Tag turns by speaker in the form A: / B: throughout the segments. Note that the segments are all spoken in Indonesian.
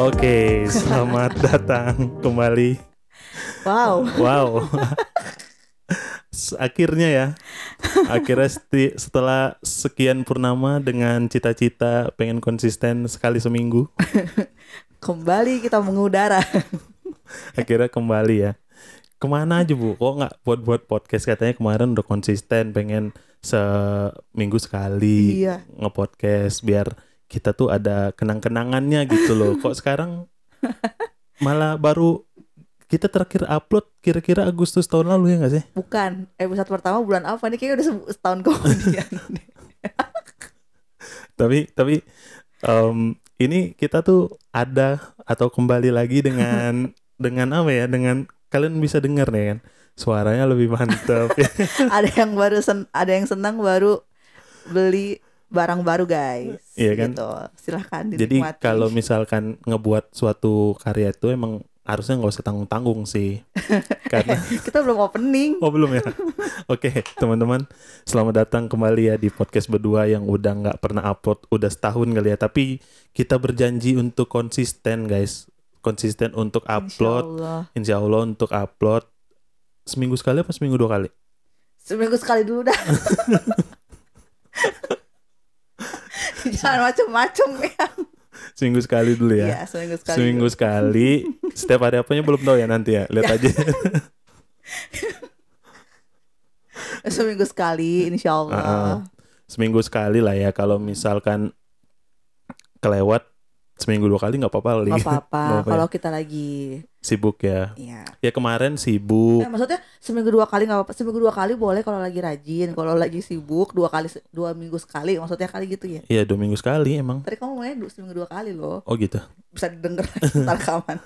A: Oke, selamat datang kembali.
B: Wow,
A: Wow. S- Akhirnya ya. Akhirnya seti- setelah sekian purnama dengan cita-cita pengen konsisten sekali seminggu,
B: kembali kita mengudara.
A: akhirnya kembali ya. Kemana aja bu? Kok nggak buat-buat podcast? Katanya kemarin udah konsisten pengen seminggu sekali
B: iya,
A: ngepodcast biar kita tuh ada kenang-kenangannya gitu loh. Kok sekarang malah baru kita terakhir upload kira-kira Agustus tahun lalu ya nggak sih?
B: bukan episode pertama bulan apa nih? Kayaknya udah se- setahun kemudian.
A: Tapi tapi em, ini kita tuh ada atau kembali lagi dengan dengan apa ya? Dengan kalian bisa dengar nih kan suaranya lebih mantap.
B: ada yang baru sen- ada yang senang baru beli barang baru guys.
A: Iya kan?
B: Gitu. Silahkan
A: Jadi
B: dinikmati.
A: kalau misalkan ngebuat suatu karya itu emang harusnya nggak usah tanggung-tanggung sih karena
B: kita belum opening.
A: Oh belum ya. Oke teman-teman, selamat datang kembali ya di podcast berdua yang udah nggak pernah upload udah setahun kali ya. Tapi kita berjanji untuk konsisten guys, konsisten untuk upload.
B: Insyaallah.
A: Insya Allah untuk upload seminggu sekali apa seminggu dua kali?
B: Seminggu sekali dulu dah. Jangan macem-macem ya.
A: Seminggu sekali dulu ya.
B: Iya, seminggu sekali.
A: seminggu
B: dulu.
A: sekali. Setiap hari apanya belum tahu ya nanti ya. Lihat aja.
B: Eh, Seminggu sekali, insya Allah.
A: Ah, seminggu sekali lah ya. Kalau misalkan kelewat seminggu dua kali nggak apa-apa
B: Nggak
A: kali.
B: apa-apa.
A: Nggak apa-apa ya.
B: Kalau kita lagi,
A: Sibuk ya.
B: ya.
A: Ya kemarin sibuk.
B: Eh, maksudnya seminggu dua kali nggak apa-apa. Seminggu dua kali boleh kalau lagi rajin, kalau lagi sibuk dua kali se- dua minggu sekali. Maksudnya kali gitu ya.
A: Iya dua minggu sekali emang.
B: Tadi kamu ngomongnya du- seminggu dua kali loh.
A: Oh gitu.
B: Bisa didengar lagi kita rekaman.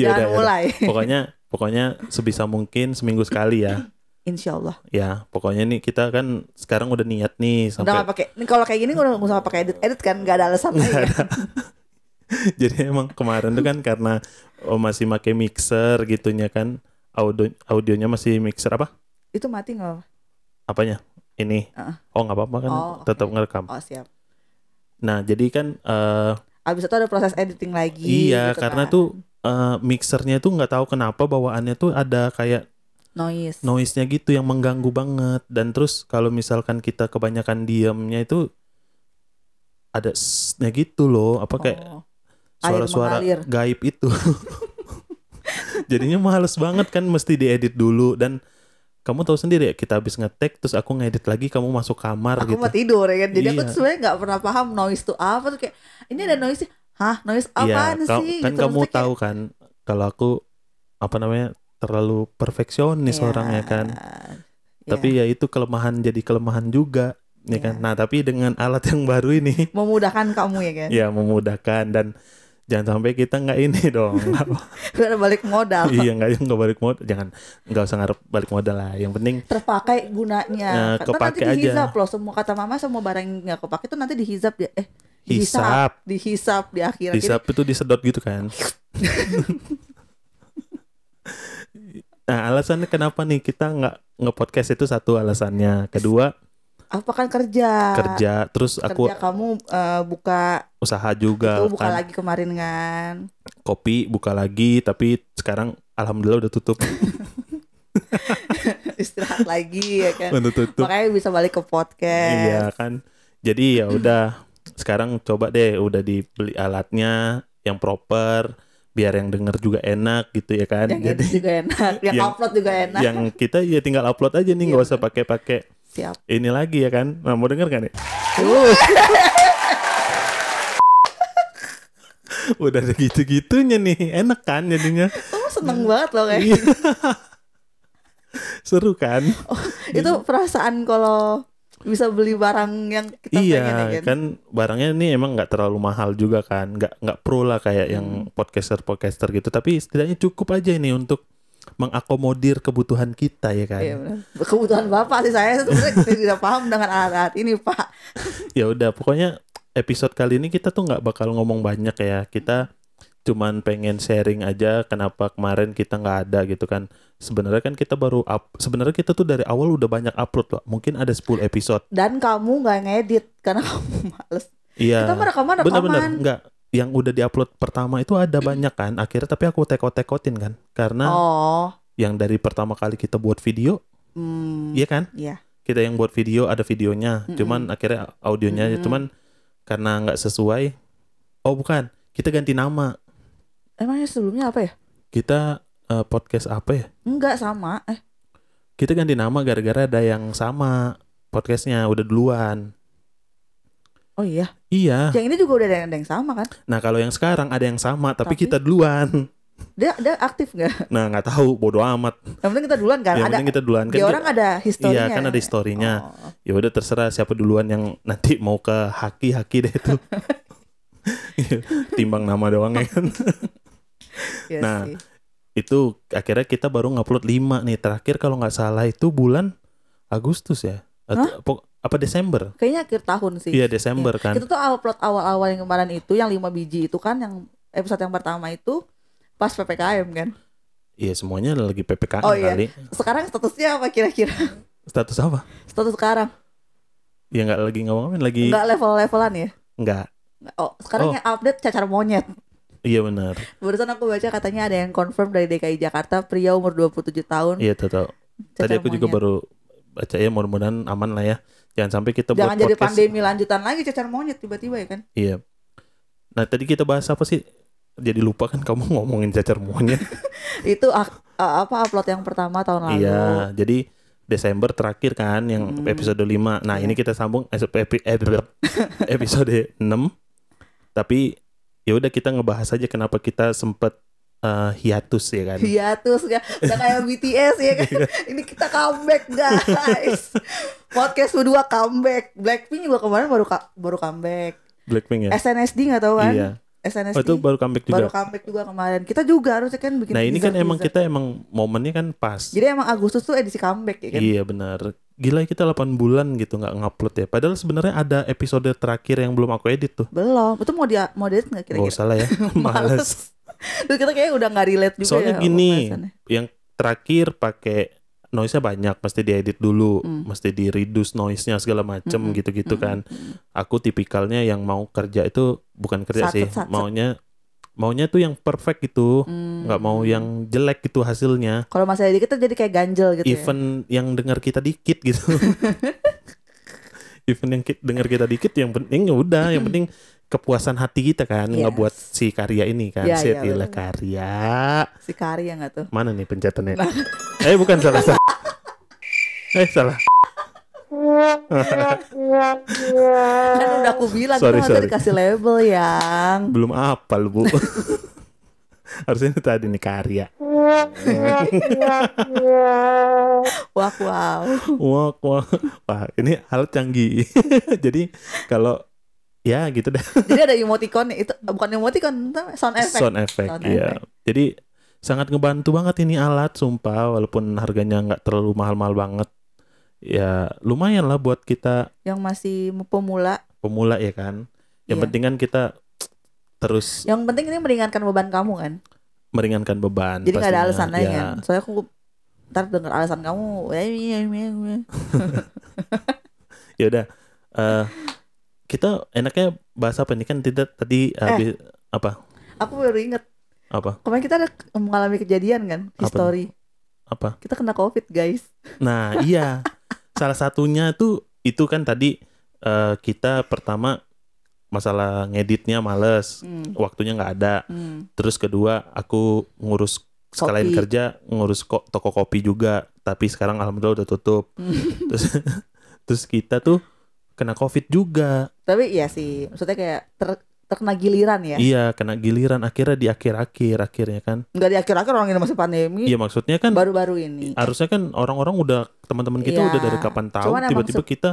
A: Ya udah.
B: Jangan
A: ya udah.
B: mulai.
A: Pokoknya pokoknya sebisa mungkin seminggu sekali ya.
B: Insya Allah.
A: Ya pokoknya nih kita kan sekarang udah niat nih
B: Udah
A: sampai.
B: nggak pakai. Ini kalau kayak gini udah nggak usah pakai edit edit kan nggak ada alasan lagi.
A: Nggak
B: kan?
A: ada. Jadi emang kemarin tuh kan karena oh, masih pakai mixer gitunya kan audio audionya masih mixer apa?
B: Itu mati nggak? apa-apa?
A: Apanya? Ini.
B: Heeh.
A: Oh nggak apa-apa kan
B: Oh, oke.
A: tetap ngerekam.
B: Oh siap.
A: Nah jadi kan eh,
B: Abis itu ada proses editing lagi.
A: iya
B: gitu
A: karena
B: kan.
A: tuh eh, mixernya tuh nggak tahu kenapa bawaannya tuh ada kayak
B: noise.
A: noise-nya gitu yang mengganggu banget dan terus kalau misalkan kita kebanyakan diamnya itu ada nya gitu loh apa kayak
B: Oh. air
A: suara-suara
B: mengalir.
A: gaib itu jadinya males banget kan mesti diedit dulu dan kamu tahu sendiri ya kita habis ngetek terus aku ngedit lagi kamu masuk kamar
B: Aku
A: gitu
B: mau tidur ya kan. Jadi aku
A: Iya.
B: tuh sebenarnya nggak pernah paham noise tuh apa tuh kayak ini ada noise sih. Hah, noise
A: iya
B: apaan
A: kau-
B: sih?
A: kan
B: Gitu.
A: kamu
B: Maksudnya kayak-
A: tahu kan kalau aku apa namanya terlalu perfeksionis
B: Iya.
A: orangnya kan
B: Iya.
A: tapi ya itu kelemahan jadi kelemahan juga ya kan
B: Iya.
A: nah tapi dengan alat yang baru ini
B: memudahkan kamu ya kan.
A: ya memudahkan dan jangan sampai kita nggak ini dong
B: Iya.
A: Nggak-
B: Udah balik modal.
A: iya nggak nggak balik modal jangan nggak usah ngarep balik modal lah yang penting
B: Terpakai gunanya.
A: Nah,
B: Karena nanti
A: kepake aja.
B: dihizab loh semua kata mama semua barang yang nggak kepake itu nanti dihizab ya. Eh, dihisap,
A: hisap
B: dihisap di akhirat. Jadi,
A: hisap itu disedot gitu kan nah alasannya kenapa nih kita nggak nge-podcast itu satu alasannya kedua
B: apa kan kerja?
A: kerja terus aku
B: Kerja kamu eh, buka
A: usaha juga
B: itu buka
A: kan.
B: lagi kemarin kan.
A: kopi buka lagi tapi sekarang alhamdulillah udah tutup
B: Istirahat lagi ya kan.
A: udah tutup
B: Makanya bisa balik ke podcast.
A: Iya kan. Jadi ya udah sekarang coba deh udah dibeli alatnya yang proper biar yang denger juga enak gitu ya kan.
B: Yang
A: Jadi
B: edit juga enak, yang,
A: yang-
B: upload juga enak.
A: yang kita ya tinggal upload aja nih nggak
B: Iya,
A: usah pakai-pakai
B: Siap.
A: ini lagi ya kan. Nah, mau denger kan nih? udah ada gitu-gitunya nih. Enak kan jadinya.
B: Kamu Oh, seneng banget loh kayak.
A: Iya. Seru kan?
B: itu perasaan kalau bisa beli barang yang kita pengen ya
A: Iya
B: kan?
A: kan barangnya ini emang nggak terlalu mahal juga kan nggak nggak pro lah kayak
B: Hmm.
A: yang podcaster podcaster gitu tapi setidaknya cukup aja ini untuk mengakomodir kebutuhan kita ya kan
B: Iya benar. Kebutuhan bapak sih saya sebenarnya tidak paham dengan alat-alat ini pak.
A: ya udah pokoknya episode kali ini kita tuh nggak bakal ngomong banyak ya kita cuman pengen sharing aja kenapa kemarin kita nggak ada gitu kan sebenarnya kan kita baru up sebenarnya kita tuh dari awal udah banyak upload loh mungkin ada 10 episode
B: Dan kamu nggak ngedit karena kamu males.
A: iya
B: Kita merekaman rekaman.
A: bener-bener nggak yang udah diupload pertama itu ada banyak kan akhirnya tapi aku tekot-tekotin kan karena
B: oh
A: yang dari pertama kali kita buat video
B: hmm,
A: iya kan
B: Iya. Hmm.
A: kita yang buat video ada videonya
B: Mm-mm.
A: cuman akhirnya audionya
B: Mm-mm.
A: cuman karena nggak sesuai oh bukan kita ganti nama
B: emangnya sebelumnya apa ya
A: kita eh, podcast apa ya
B: enggak sama eh
A: kita ganti nama gara-gara ada yang sama podcastnya udah duluan
B: oh iya
A: iya
B: yang ini juga udah ada yang, ada yang sama kan
A: nah kalau yang sekarang ada yang sama tapi,
B: Tapi-
A: kita duluan
B: dia dia aktif nggak
A: nah nggak tahu bodo amat
B: yang penting kita duluan kan
A: yang
B: ada
A: penting kita duluan kan
B: dia orang ada historinya
A: iya kan ada historinya
B: Oh.
A: ya udah terserah siapa duluan yang nanti mau ke haki haki deh itu timbang nama doang ya kan
B: Iya
A: Nah,
B: sih.
A: itu akhirnya kita baru ngupload 5 nih terakhir kalau nggak salah itu bulan Agustus ya Atau- pok- apa Desember
B: kayaknya akhir tahun sih
A: iya Desember kan
B: Itu tuh upload awal-awal yang kemarin itu yang 5 biji itu kan yang episode yang pertama itu pas PPKM kan.
A: iya semuanya lagi ppkm
B: Oh, iya.
A: kali
B: Sekarang statusnya apa kira-kira?
A: status apa
B: Status sekarang
A: ya nggak lagi ngomongin lagi
B: enggak level-levelan ya?
A: nggak
B: Oh, sekarang
A: Oh.
B: yang update cacar monyet.
A: iya benar
B: Barusan aku baca katanya ada yang confirm dari DKI Jakarta pria umur 27 tahun
A: iya tahu tahu.
B: cacar
A: tadi aku juga
B: monyet.
A: baru baca ya mudah-mudahan aman lah ya jangan sampai kita
B: Jangan
A: buat
B: jadi
A: podcast
B: pandemi lanjutan lagi cacar monyet tiba-tiba ya kan?
A: iya nah tadi kita bahas apa sih jadi lupa kan kamu ngomongin cacar monyet
B: Itu ak- a- apa upload yang pertama tahun lalu.
A: Iya, jadi Desember terakhir kan yang
B: Hmm.
A: episode 5. Nah,
B: Iya.
A: ini kita sambung es- epi- ep- episode 6. Tapi ya udah kita ngebahas aja kenapa kita sempet eh, hiatus ya kan.
B: Iya terus ya udah kayak BTS ya kan.
A: Iya.
B: Ini kita comeback guys. Podcast kedua comeback. Blackpink juga kemarin baru ka- baru comeback.
A: Blackpink ya.
B: SNSD nggak tahu kan?
A: Iya.
B: SNSD
A: Oh, itu baru comeback juga.
B: baru comeback juga kemarin. Kita juga harusnya kan bikin.
A: nah, ini kan
B: teaser-teaser.
A: emang kita emang momennya kan pas.
B: Jadi emang Agustus tuh edisi comeback ya kan?
A: Iya, benar. Gila kita 8 bulan gitu nggak ngupload ya. Padahal sebenarnya ada episode terakhir yang belum aku edit tuh.
B: Belum. Itu mau dia mau edit nggak
A: Gak
B: kira-kira?
A: usah lah ya. Males.
B: Terus kita kayak udah nggak relate juga
A: Soalnya
B: ya
A: gini,
B: pembahasannya.
A: yang terakhir pakai noise-nya banyak, mesti diedit dulu,
B: Hmm.
A: mesti di reduce noise-nya segala macem
B: Mm-mm,
A: gitu-gitu kan.
B: Mm-mm.
A: Aku tipikalnya yang mau kerja itu bukan kerja sih,
B: Satset, satset.
A: maunya maunya tuh yang perfect gitu,
B: Hmm.
A: nggak mau yang jelek gitu hasilnya.
B: Kalau masih edit kita jadi kayak ganjel gitu ya.
A: Even yang dengar kita dikit gitu. Even yang ki- dengar kita dikit, yang penting ya udah, yang penting kepuasan hati kita kan, nggak
B: Yes.
A: buat si karya ini kan,
B: Ya,
A: si
B: ya,
A: gila
B: bener.
A: karya
B: Si Kari ya nggak tuh.
A: mana nih pencetannya?
B: Nah.
A: eh bukan salah salah. Eh salah.
B: kan udah aku bilang
A: Sorry,
B: itu harusnya
A: sorry.
B: dikasih label yang
A: Belum apal bu. Harusnya itu tadi nih karya.
B: wow wow
A: Wah, wah, wah ini alat canggih. Jadi kalau ya gitu deh
B: jadi ada emoticon itu bukan emoticon tapi sound effect
A: sound effect
B: Sound
A: ya. Jadi sangat ngebantu banget ini alat sumpah walaupun harganya nggak terlalu mahal-mahal banget. Ya lumayan lah buat kita
B: yang masih pemula
A: pemula ya kan. Yang
B: Iya. Ya.
A: penting kan kita terus
B: yang penting ini meringankan beban kamu kan
A: meringankan beban.
B: jadi nggak ada
A: pastinya.
B: alasan lain
A: Ya.
B: kan soalnya aku ntar denger alasan kamu ya,
A: ya udah eh, kita enaknya bahas apa nih kan tidak tadi
B: Eh.
A: habis apa
B: aku baru inget
A: apa
B: kemarin kita ada mengalami kejadian kan
A: Apa
B: history
A: apa
B: kita kena covid guys
A: nah iya salah satunya tuh itu kan tadi eh, kita pertama masalah ngeditnya males
B: hmm.
A: waktunya nggak ada
B: hmm.
A: terus kedua aku ngurus sekalian
B: Kopi.
A: kerja ngurus kok toko kopi juga tapi sekarang alhamdulillah udah tutup
B: Hmm.
A: terus terus kita tuh kena covid juga
B: tapi iya sih maksudnya kayak ter- terkena giliran ya
A: iya kena giliran akhirnya di akhir-akhir akhirnya kan
B: nggak di akhir-akhir orang ini masih pandemi
A: iya maksudnya kan
B: baru-baru ini
A: harusnya kan orang-orang udah teman-teman kita
B: Iya.
A: udah dari kapan tahu
B: Cuman emang
A: tiba-tiba kita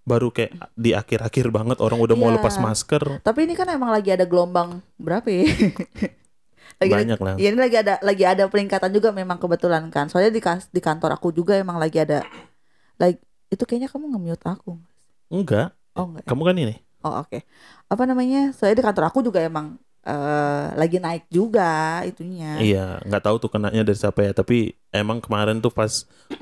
A: baru kayak di akhir-akhir banget orang udah mau
B: Iya.
A: lepas masker
B: Tapi ini kan emang lagi ada gelombang berapa ya? lagi ada,
A: banyak lah
B: ya ini lagi ada lagi ada peningkatan juga memang kebetulan kan. Soalnya di kas- di kantor aku juga emang lagi ada like itu kayaknya kamu nge-mute aku.
A: enggak
B: Oh enggak. ya?
A: kamu kan ini
B: Oh oke. Apa namanya? Soalnya di kantor aku juga emang eh, lagi naik juga itunya.
A: iya nggak tahu tuh kenanya dari siapa ya tapi emang kemarin tuh pas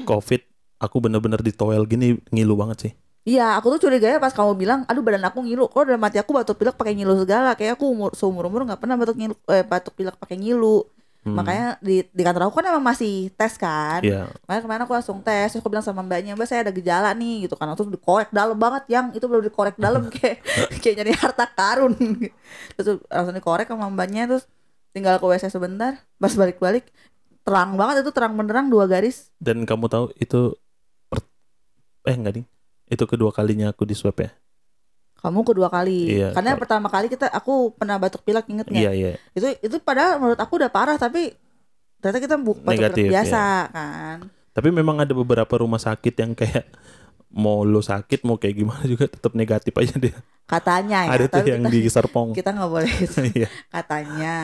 A: covid aku bener-bener di toel gini ngilu banget sih
B: Iya, aku tuh curiganya pas kamu bilang, aduh badan aku ngilu. Kalau dalam hati aku batuk pilek pakai ngilu segala. Kayak aku umur seumur umur nggak pernah batuk ngilu, eh, batuk pilek pakai ngilu.
A: Hmm.
B: Makanya di, di kantor aku kan emang masih tes kan.
A: Iya.
B: Makanya kemarin aku langsung tes, terus aku bilang sama mbaknya, mbak saya ada gejala nih gitu kan. Terus dikorek dalam banget, yang itu baru dikorek dalam kayak kayak nyari harta karun. Terus langsung dikorek sama mbaknya, terus tinggal ke WC sebentar, pas balik-balik terang banget itu terang benderang dua garis.
A: Dan kamu tahu itu per- eh enggak ding. Itu kedua kalinya aku di swab ya.
B: Kamu kedua kali.
A: Iya,
B: Karena
A: kalau-
B: pertama kali kita aku pernah batuk pilek inget nggak?
A: Iya, iya.
B: Itu itu padahal menurut aku udah parah tapi ternyata kita bu- batuk
A: Negatif, iya.
B: pilek biasa kan.
A: Tapi memang ada beberapa rumah sakit yang kayak mau lo sakit mau kayak gimana juga tetap negatif aja dia.
B: Katanya ya,
A: ada tuh
B: tapi
A: yang
B: kita- Gitu.
A: di Serpong.
B: kita nggak boleh itu.
A: Iya.
B: katanya.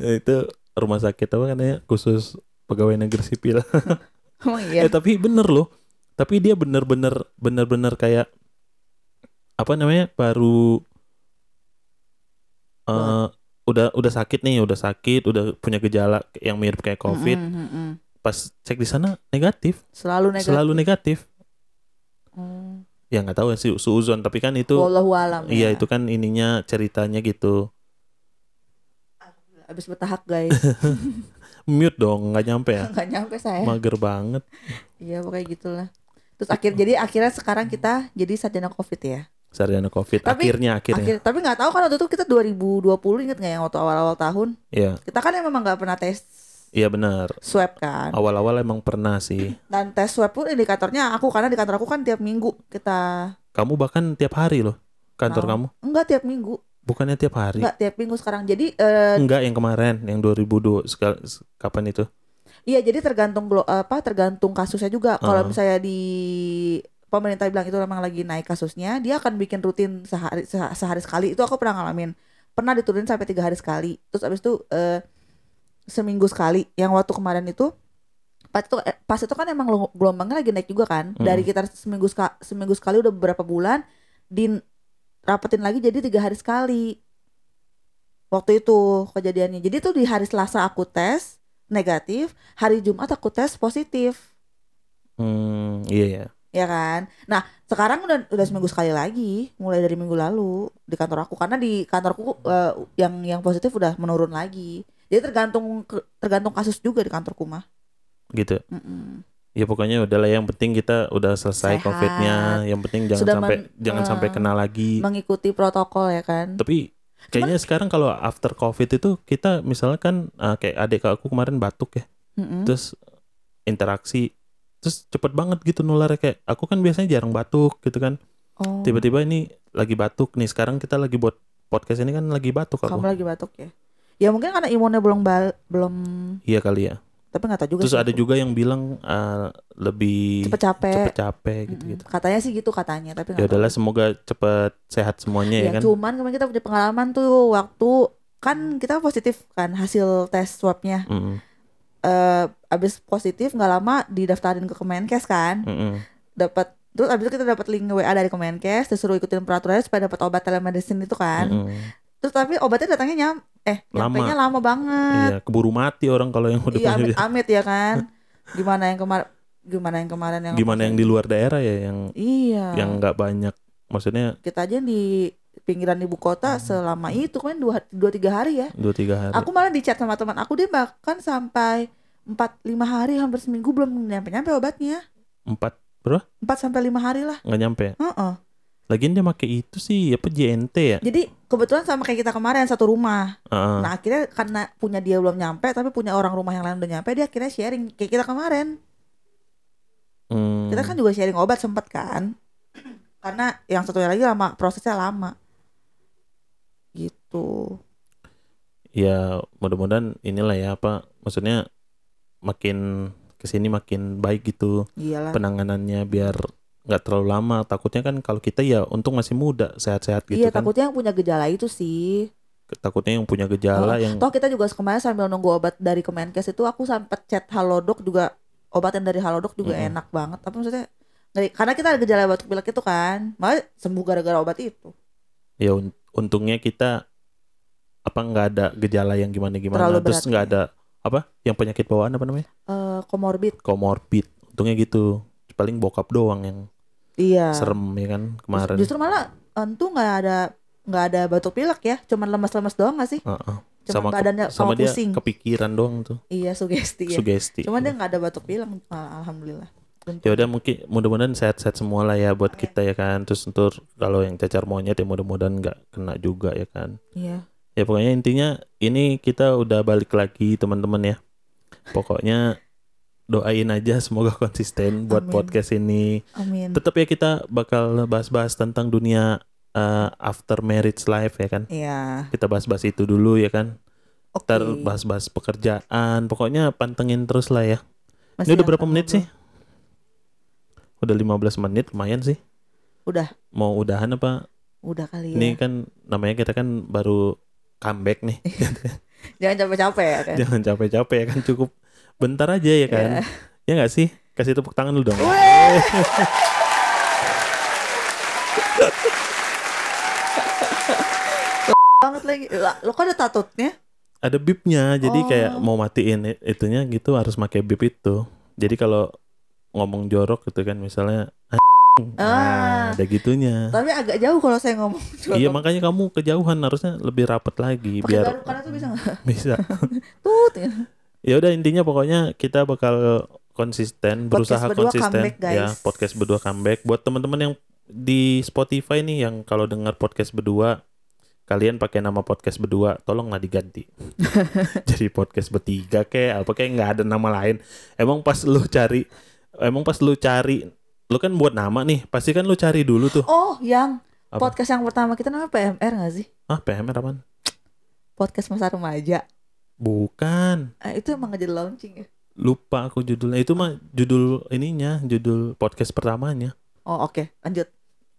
A: itu rumah sakit apa kan ya khusus pegawai negeri sipil.
B: Emang
A: Eh
B: iya.
A: tapi bener loh. Tapi dia bener-bener bener-bener kayak apa namanya baru eh,
B: Apa?
A: udah udah sakit nih, udah sakit, udah punya gejala yang mirip kayak COVID.
B: Mm-mm, mm-mm.
A: Pas cek di sana negatif,
B: Selalu negatif.
A: selalu negatif.
B: Hmm.
A: Ya nggak tahu ya sih suuzon, tapi kan itu
B: Wallahu alam.
A: iya
B: ya.
A: itu kan ininya ceritanya gitu.
B: Abis bertahak guys.
A: Mute dong, nggak nyampe ya.
B: Nggak nyampe saya.
A: Mager banget.
B: Iya pokoknya gitulah. Terus akhir jadi akhirnya sekarang kita jadi sarjana covid ya.
A: sarjana covid
B: Tapi-
A: akhirnya akhirnya
B: Akhir, tapi nggak tahu kan waktu itu kita 2020 inget nggak yang waktu awal-awal tahun
A: iya
B: kita kan memang nggak pernah tes
A: iya benar
B: swab kan.
A: awal-awal emang pernah sih
B: Dan tes swab pun indikatornya aku karena di kantor aku kan tiap minggu kita
A: kamu bahkan tiap hari loh kantor
B: Tahu.
A: kamu
B: enggak tiap minggu
A: bukannya tiap hari
B: enggak tiap minggu sekarang. Jadi eh,
A: enggak yang kemarin yang 2002 sekal- se- kapan itu
B: Iya, jadi tergantung glo- apa tergantung kasusnya juga. Kalau
A: Ah.
B: misalnya di pemerintah bilang itu memang lagi naik kasusnya, dia akan bikin rutin sehari seha- sehari sekali. Itu aku pernah ngalamin. Pernah diturunin sampai tiga hari sekali. Terus abis itu eh, seminggu sekali. Yang waktu kemarin itu pas itu eh, pas itu kan emang lo- gelombangnya lagi naik juga kan.
A: Mm.
B: Dari kita seminggu seka- seminggu sekali udah beberapa bulan din rapetin lagi jadi tiga hari sekali waktu itu kejadiannya jadi tuh di hari Selasa aku tes negatif hari Jumat aku tes positif
A: hmm iya ya
B: ya kan nah sekarang udah udah seminggu sekali lagi mulai dari minggu lalu di kantor aku karena di kantorku eh, yang yang positif udah menurun lagi jadi tergantung ke- tergantung kasus juga di kantorku mah
A: gitu
B: Mm-mm.
A: ya pokoknya udahlah yang penting kita udah selesai
B: Sehat.
A: covidnya yang penting jangan
B: Sudah
A: sampai
B: men-
A: jangan
B: eh,
A: sampai kena lagi
B: mengikuti protokol ya kan
A: tapi kayaknya sekarang kalau after covid itu kita misalnya kan eh, kayak adik aku kemarin batuk ya
B: Mm-mm.
A: terus interaksi terus cepet banget gitu nularnya kayak aku kan biasanya jarang batuk gitu kan
B: Oh,
A: tiba-tiba ini lagi batuk nih sekarang kita lagi buat podcast ini kan lagi batuk
B: kamu
A: aku
B: lagi batuk ya ya mungkin karena imunnya belum bal- belum
A: iya kali ya
B: tapi nggak tahu juga
A: terus
B: sih
A: ada
B: aku.
A: juga yang bilang eh, lebih
B: cepet capek
A: cepet capek gitu
B: Mm-mm.
A: gitu
B: Katanya sih gitu katanya, tapi
A: ya
B: nggak tahu.
A: udahlah semoga cepet sehat semuanya ya,
B: Ya,
A: kan
B: cuman kemarin kita punya pengalaman tuh waktu kan kita positif kan hasil tes swabnya
A: Mm-mm,
B: Eh abis positif nggak lama didaftarin ke Kemenkes kan
A: mm-mm.
B: dapat terus abis itu kita dapat link WA dari Kemenkes disuruh ikutin peraturannya supaya dapat obat telemedicine itu kan
A: Mm-mm.
B: terus tapi obatnya datangnya nyam eh
A: Mm-hmm. Lama.
B: nyampenya lama banget
A: iya keburu mati orang kalau yang udah
B: iya amit amit ya kan gimana yang kemarin gimana yang kemarin yang
A: gimana yang di luar daerah ya yang
B: iya
A: yang nggak banyak maksudnya
B: kita aja yang di pinggiran ibu kota
A: Mm-hmm.
B: selama itu kemarin dua, dua tiga hari ya
A: dua tiga hari
B: aku malah dicat sama teman aku dia bahkan sampai empat lima hari hampir seminggu belum nyampe nyampe obatnya
A: empat
B: empat sampai lima hari lah
A: nggak nyampe ya?
B: Heeh.
A: lagian dia pakai itu sih apa JNT ya
B: jadi kebetulan sama kayak kita kemarin satu rumah
A: Heeh.
B: nah akhirnya karena punya dia belum nyampe tapi punya orang rumah yang lain udah nyampe dia akhirnya sharing kayak kita kemarin
A: Hmm.
B: kita kan juga sharing obat sempet kan karena yang satunya lagi lama prosesnya lama gitu
A: ya mudah-mudahan inilah ya apa maksudnya makin kesini makin baik gitu
B: iyalah
A: penanganannya biar nggak terlalu lama takutnya kan kalau kita ya untung masih muda sehat-sehat gitu
B: iya
A: kan
B: takutnya yang punya gejala itu sih
A: takutnya yang punya gejala yang
B: Oh, Toh kita juga kemarin sambil nunggu obat dari Kemenkes itu aku sempet chat Halodoc juga obat yang dari Halodoc juga
A: Mm-mm.
B: enak banget. Tapi maksudnya ngeri. karena kita ada gejala batuk pilek itu kan, malah sembuh gara-gara obat itu.
A: ya un- untungnya kita apa nggak ada gejala yang gimana-gimana
B: Terlalu
A: terus
B: berat,
A: nggak
B: ya.
A: ada apa yang penyakit bawaan apa namanya
B: Eh komorbid.
A: komorbid untungnya gitu paling bokap doang yang
B: iya
A: serem ya kan kemarin.
B: justru malah entu nggak ada nggak ada batuk pilek ya cuman lemas-lemas doang nggak sih
A: Heeh.
B: cuman
A: Sama ke-
B: badannya
A: Sama
B: sama
A: dia
B: pusing
A: kepikiran doang tuh,
B: iya sugesti ya
A: sugesti.
B: cuman dia nggak ada batuk pilek al- alhamdulillah
A: ya udah mungkin mudah-mudahan sehat-sehat semua lah ya buat kita ya kan. Terus ntar kalau yang cacar monyet ya mudah-mudahan nggak kena juga ya kan.
B: iya
A: Ya pokoknya intinya ini kita udah balik lagi teman-teman ya. Pokoknya doain aja semoga konsisten buat
B: Amin.
A: podcast ini.
B: amin
A: Tetap ya kita bakal bahas-bahas tentang dunia eh, after marriage life ya kan.
B: iya
A: Kita bahas-bahas itu dulu ya kan.
B: oke
A: Ntar bahas-bahas pekerjaan. Pokoknya pantengin terus lah ya.
B: Masih
A: Ini udah
B: akan
A: berapa menit sih?
B: ngobrol.
A: Udah 15 menit lumayan sih.
B: Udah.
A: Mau udahan apa?
B: udah kali ya
A: Ini kan namanya kita kan baru comeback nih.
B: Iya. jangan capek-capek ya kan
A: Jangan capek-capek ya kan cukup bentar aja ya kan.
B: Iya.
A: Ya nggak sih? Kasih tepuk tangan dulu dong.
B: Weh. banget lagi Lah, lo kok ada tatutnya
A: Ada bipnya. Jadi
B: Oh.
A: kayak mau matiin it- itunya gitu harus pakai bip itu. Jadi kalau ngomong jorok gitu kan misalnya "Anjing."
B: Ah.
A: nah, ada gitunya.
B: tapi agak jauh kalau saya ngomong
A: Iya makanya kamu kejauhan harusnya lebih rapat lagi
B: pakai
A: biar
B: barukan itu bisa nggak
A: bisa.
B: tut ya.
A: Ya udah intinya pokoknya kita bakal konsisten,
B: Podcast
A: berusaha
B: berdua
A: konsisten
B: comeback, guys.
A: ya, podcast berdua comeback buat teman-teman yang di Spotify nih yang kalau dengar podcast berdua kalian pakai nama podcast berdua tolonglah diganti. Jadi podcast bertiga kayak apa kayak nggak ada nama lain. Emang pas lu cari emang pas lu cari lu kan buat nama nih, pasti kan lu cari dulu tuh.
B: oh yang
A: Apa?
B: podcast yang pertama kita namanya PMR nggak sih
A: Ah, PMR apaan?
B: podcast masa remaja
A: Bukan.
B: Eh, itu emang nggak jadi launching ya
A: Lupa aku judulnya. Itu mah judul ininya, judul podcast pertamanya.
B: oh oke lanjut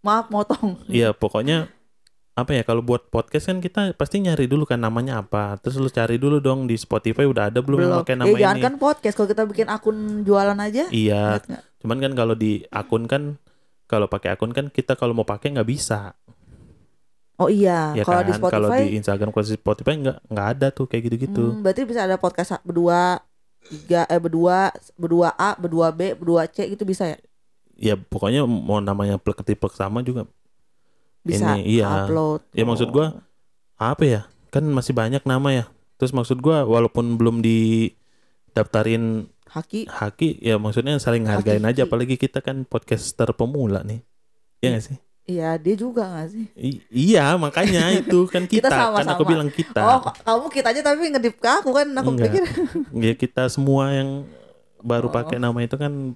B: maaf motong
A: Iya, pokoknya apa ya kalau buat podcast kan kita pasti nyari dulu kan namanya apa. Terus lu cari dulu dong di Spotify udah ada belum, yang pakai nama
B: ya, jangan
A: ini.
B: kan podcast kalau kita bikin akun jualan aja
A: Iya,
B: ingat nggak?
A: cuman kan kalau di akun kan kalau pakai akun kan kita kalau mau pakai nggak bisa.
B: oh iya
A: ya
B: kalau
A: kan?
B: di
A: Kalau
B: Spotify
A: di Instagram kalau di Spotify nggak nggak ada tuh kayak gitu-gitu.
B: Hmm, berarti bisa ada podcast sa- berdua, tiga, eh berdua, berdua A, berdua B, berdua C gitu bisa ya?
A: Ya pokoknya mau namanya plek-plek sama juga.
B: Bisa
A: Ini, iya.
B: upload.
A: Ya, maksud gua- Apa ya? Kan masih banyak nama ya. Terus maksud gua walaupun belum didaftarin
B: Haki.
A: haki ya maksudnya saling hargain aja
B: Haki-haki.
A: apalagi kita kan podcaster pemula nih Iya gak sih?
B: Iya, dia juga gak sih?
A: I- iya makanya itu kan kita,
B: Kita
A: kan aku
B: sama-sama.
A: bilang kita
B: Oh, ka- kamu kita aja tapi ngedip ke aku kan aku
A: Enggak.
B: pikir.
A: ya kita semua yang baru
B: Oh.
A: pakai nama itu kan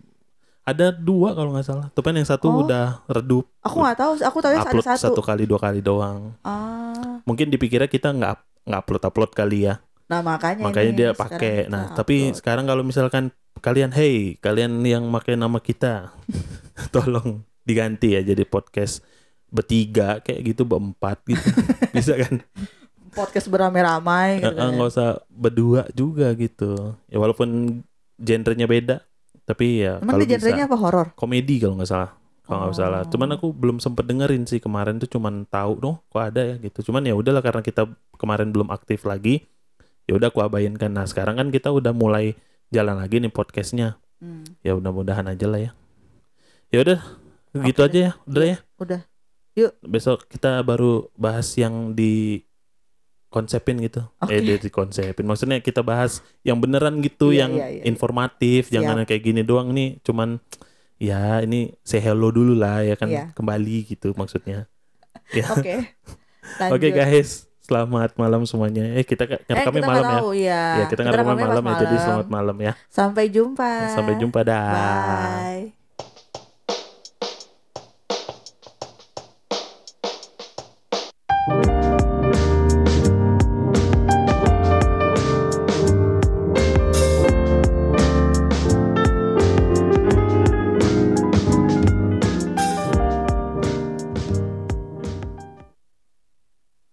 A: ada dua kalau nggak salah tuh kan yang satu
B: Oh.
A: udah redup
B: Aku gak tahu, aku tahu ya, ada
A: upload
B: satu.
A: satu kali dua kali doang
B: Ah.
A: mungkin dipikirnya kita nggak up- nggak upload upload kali ya
B: Nah, makanya
A: makanya
B: ini
A: dia
B: sekarang
A: pakai
B: kita
A: nah tapi
B: upload.
A: sekarang kalau misalkan kalian hey kalian yang pakai nama kita tolong diganti ya jadi podcast bertiga kayak gitu berempat gitu bisa kan
B: podcast beramai-ramai
A: Eh, eh,
B: gitu kan.
A: nggak usah berdua juga gitu ya walaupun genrenya beda tapi ya
B: Emang
A: kalau
B: dia genrenya
A: bisa
B: apa horor?
A: komedi kalau nggak salah kalau nggak
B: Oh.
A: salah cuman aku belum sempet dengerin sih kemarin tuh cuman tahu dong kok ada ya gitu cuman ya udahlah karena kita kemarin belum aktif lagi ya udah aku abainkan nah sekarang kan kita udah mulai jalan lagi nih podcastnya
B: Hmm.
A: ya mudah-mudahan aja lah ya ya udah gitu
B: Oke Iya,
A: aja ya udah ya
B: udah. Yuk.
A: besok kita baru bahas yang di konsepin gitu eh
B: Oke.
A: di, di konsepin maksudnya kita bahas yang beneran gitu
B: Iya,
A: yang
B: iya, iya.
A: informatif
B: Siap.
A: jangan kayak gini doang nih cuman ya ini say hello dulu lah ya kan
B: Iya.
A: kembali gitu maksudnya ya
B: Oke.
A: oke
B: Lanjut.
A: guys selamat malam semuanya eh kita ka-
B: Eh,
A: ngerekamnya
B: kita nggak
A: malam ya
B: tahu, ya.
A: ya kita ngerekamnya
B: ngerekamnya
A: malam ya
B: pas
A: jadi
B: malam.
A: selamat malam ya
B: Sampai jumpa.
A: sampai jumpa dah
B: Bye.